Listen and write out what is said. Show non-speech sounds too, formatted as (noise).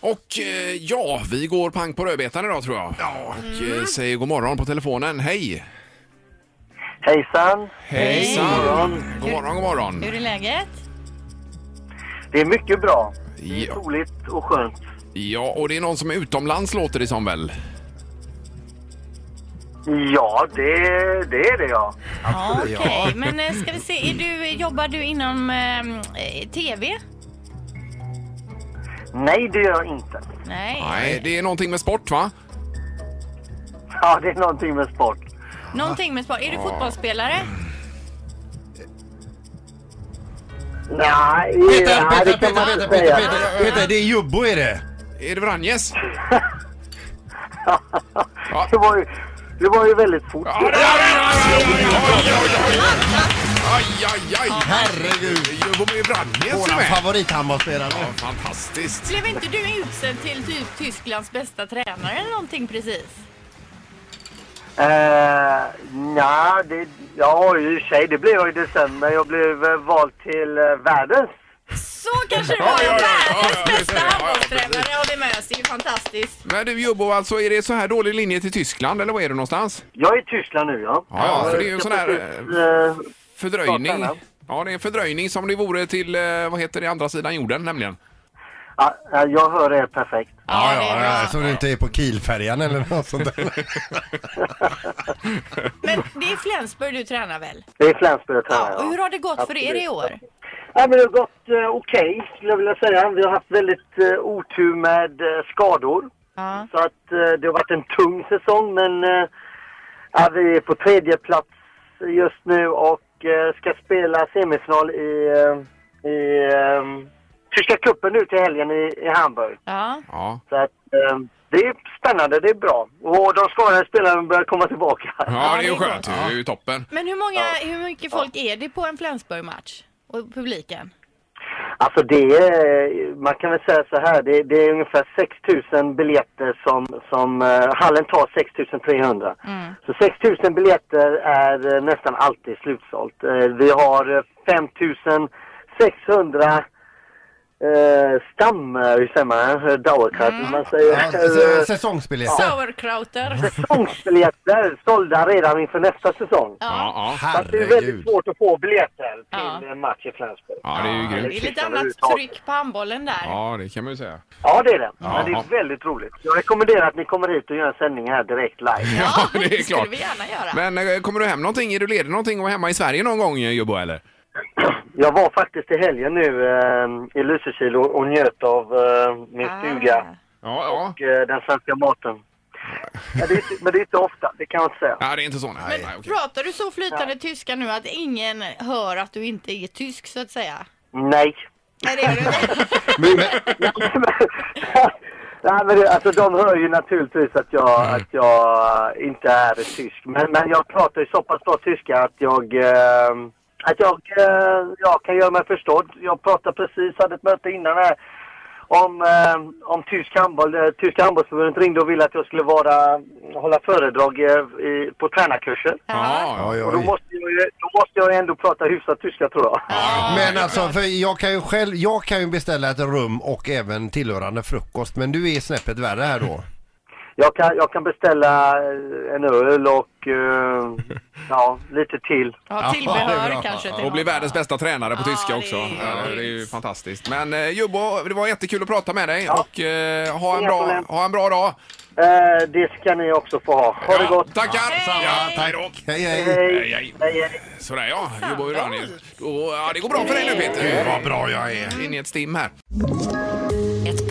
Och eh, ja, vi går pang på rödbetan idag tror jag. Ja. Och eh, säger god morgon på telefonen. Hej! Hejsan! Hejsan! God morgon, god morgon. Hur är läget? Det är mycket bra. Det är Ja. soligt och skönt. ja, och det är någon som är utomlands låter det som väl? Ja, det, det är det ja. Ja, okej. Ja. Men eh, ska vi se, är du, jobbar du inom eh, TV? Nej, det gör jag inte. (laughs) Nej. Nej, Eh, det är någonting med sport va? Ja, det är någonting med sport. Någonting med sport. Är du fotbollsspelare? Nej, Peter, nej Peter, det kan man Peter, inte Peter, Peter, säga. (laughs) Peter, Peter, det är jumbo är det. Är det Vranjes? Det var ju, det var ju väldigt fort. Ja, det är det! Oj, oj, oj, oj, oj. Aj, aj, aj! Herregud. Jumbo med Vranjes är Våran med! favorithandbollsspelare. Ja, fantastiskt! Blev inte du utsedd till typ Tysklands bästa tränare eller någonting precis? Eh, nej, det, ja i och för sig, det blev jag i december. Jag blev eh, vald till eh, världens. Så kanske det Ja, var ja, ja, ja, ja, världens ja, just bästa det. Ja, ja, handbollstränare. Ja, det är med oss. Det är ju fantastiskt. Men du Jumbo, alltså är det så här dålig linje till Tyskland eller var är du någonstans? Jag är i Tyskland nu ja. Ja, ja, för det är ju Jag en ska sån här, precis, eh, Fördröjning. Starta, Ja, det är en fördröjning som det vore till, eh, vad heter det, andra sidan jorden nämligen. ja, ja, jag hör er perfekt. Ja, det är bra. Så du inte är på Kielfärjan eller något sånt där. Men det är Flensburg du tränar väl? Det är Flensburg jag tränar Ja. Och hur har det gått för er i år? Ja, men det har gått eh, okej, skulle jag vilja säga. Vi har haft väldigt eh, otur med eh, skador. Ja. Så att eh, det har varit en tung säsong, men eh, ja, vi är på tredje plats just nu och eh, ska spela semifinal i, eh, i eh, Tyska cupen nu till helgen i, i Hamburg. Ja. Ja. Så att eh, det är spännande, det är bra. Och de skadade spelarna börjar komma tillbaka. Ja, det är ju det går. skönt. Det är ju toppen. Men hur, många, hur mycket folk är det på en Flensburg-match? Och publiken? Alltså det är, man kan väl säga så här, det, det är ungefär 6000 biljetter som, som eh, hallen tar 6300. Så 6000 biljetter är eh, nästan alltid slutsålt. Eh, vi har eh, 5600 eh, stam, eh, hur säger man, eh, dauerkratt, man säger. Ja, eh, s- Säsongsbiljetter. Sauerkrauter. Säsongsbiljetter sålda redan inför nästa säsong. Ja. Ja, ja. Så att det är väldigt Herregud. svårt att få biljetter till Ja. en match i Flensburg. ja det är ju Det är grymt. lite annat tryck på handbollen där. Ja, det kan man ju säga. Ja, det är det. Ja. Men det är väldigt roligt. Jag rekommenderar att ni kommer hit och gör en sändning här direkt live. Ja, (laughs) det är skulle klart. vi gärna göra. Men eh, kommer du hem någonting? Är du ledig någonting och hemma i Sverige någon gång, eh, Jumbo, eller? Jag var faktiskt i helgen nu eh, i Lysekil och, och njöt av eh, min Ah. stuga Ja, ja. och eh, den svenska maten. Men det, är, inte- men det är inte ofta, det kan jag inte säga. Ja, det är inte så. Nej, nej, Men okej. pratar du så flytande tyska nu att ingen hör att du inte är tysk så att säga? Nej. (laughs) Nej, det gör du inte. (laughs) Nej, men det, alltså, de hör ju naturligtvis att jag, att jag inte är tysk. Men, men jag pratar ju så pass bra tyska att jag, eh, att jag, eh, jag kan göra mig förstådd. Jag pratade precis, hade ett möte innan här om, eh, om tysk handboll. Eh, Tyska handbollsförbundet ringde och ville att jag skulle vara, hålla föredrag eh, i, på tränarkurser. Ja, ja. Oj, Och då oj. måste, jag, ju- då måste jag ändå prata hyfsat tyska tror jag. Men alltså, för jag kan ju själv, jag kan ju beställa ett rum och även tillhörande frukost. Men du är snäppet värre här då. Jag kan, jag kan beställa eh, en öl och eh, ja, lite till. Ja, Ja, det är tillbehör bra. kanske. Till Och bli något. världens bästa tränare på Ja, tyska det också. är ju Ja, det är ju grymt. fantastiskt. Men eh, Jumbo, det var jättekul att prata med dig och eh, ha, en Inga bra, problem. ha en bra dag. Eh, det ska ni också få ha. Ha det Ja, gott! Tackar! Hej! Ja, hej då! Hej, hej. Hej, Hej, hej. hej, hej. Sådär ja, jobbar vi Rani. Ja, det går bra för dig nu Peter. Gud vad bra jag är. In i ett stim här. Ett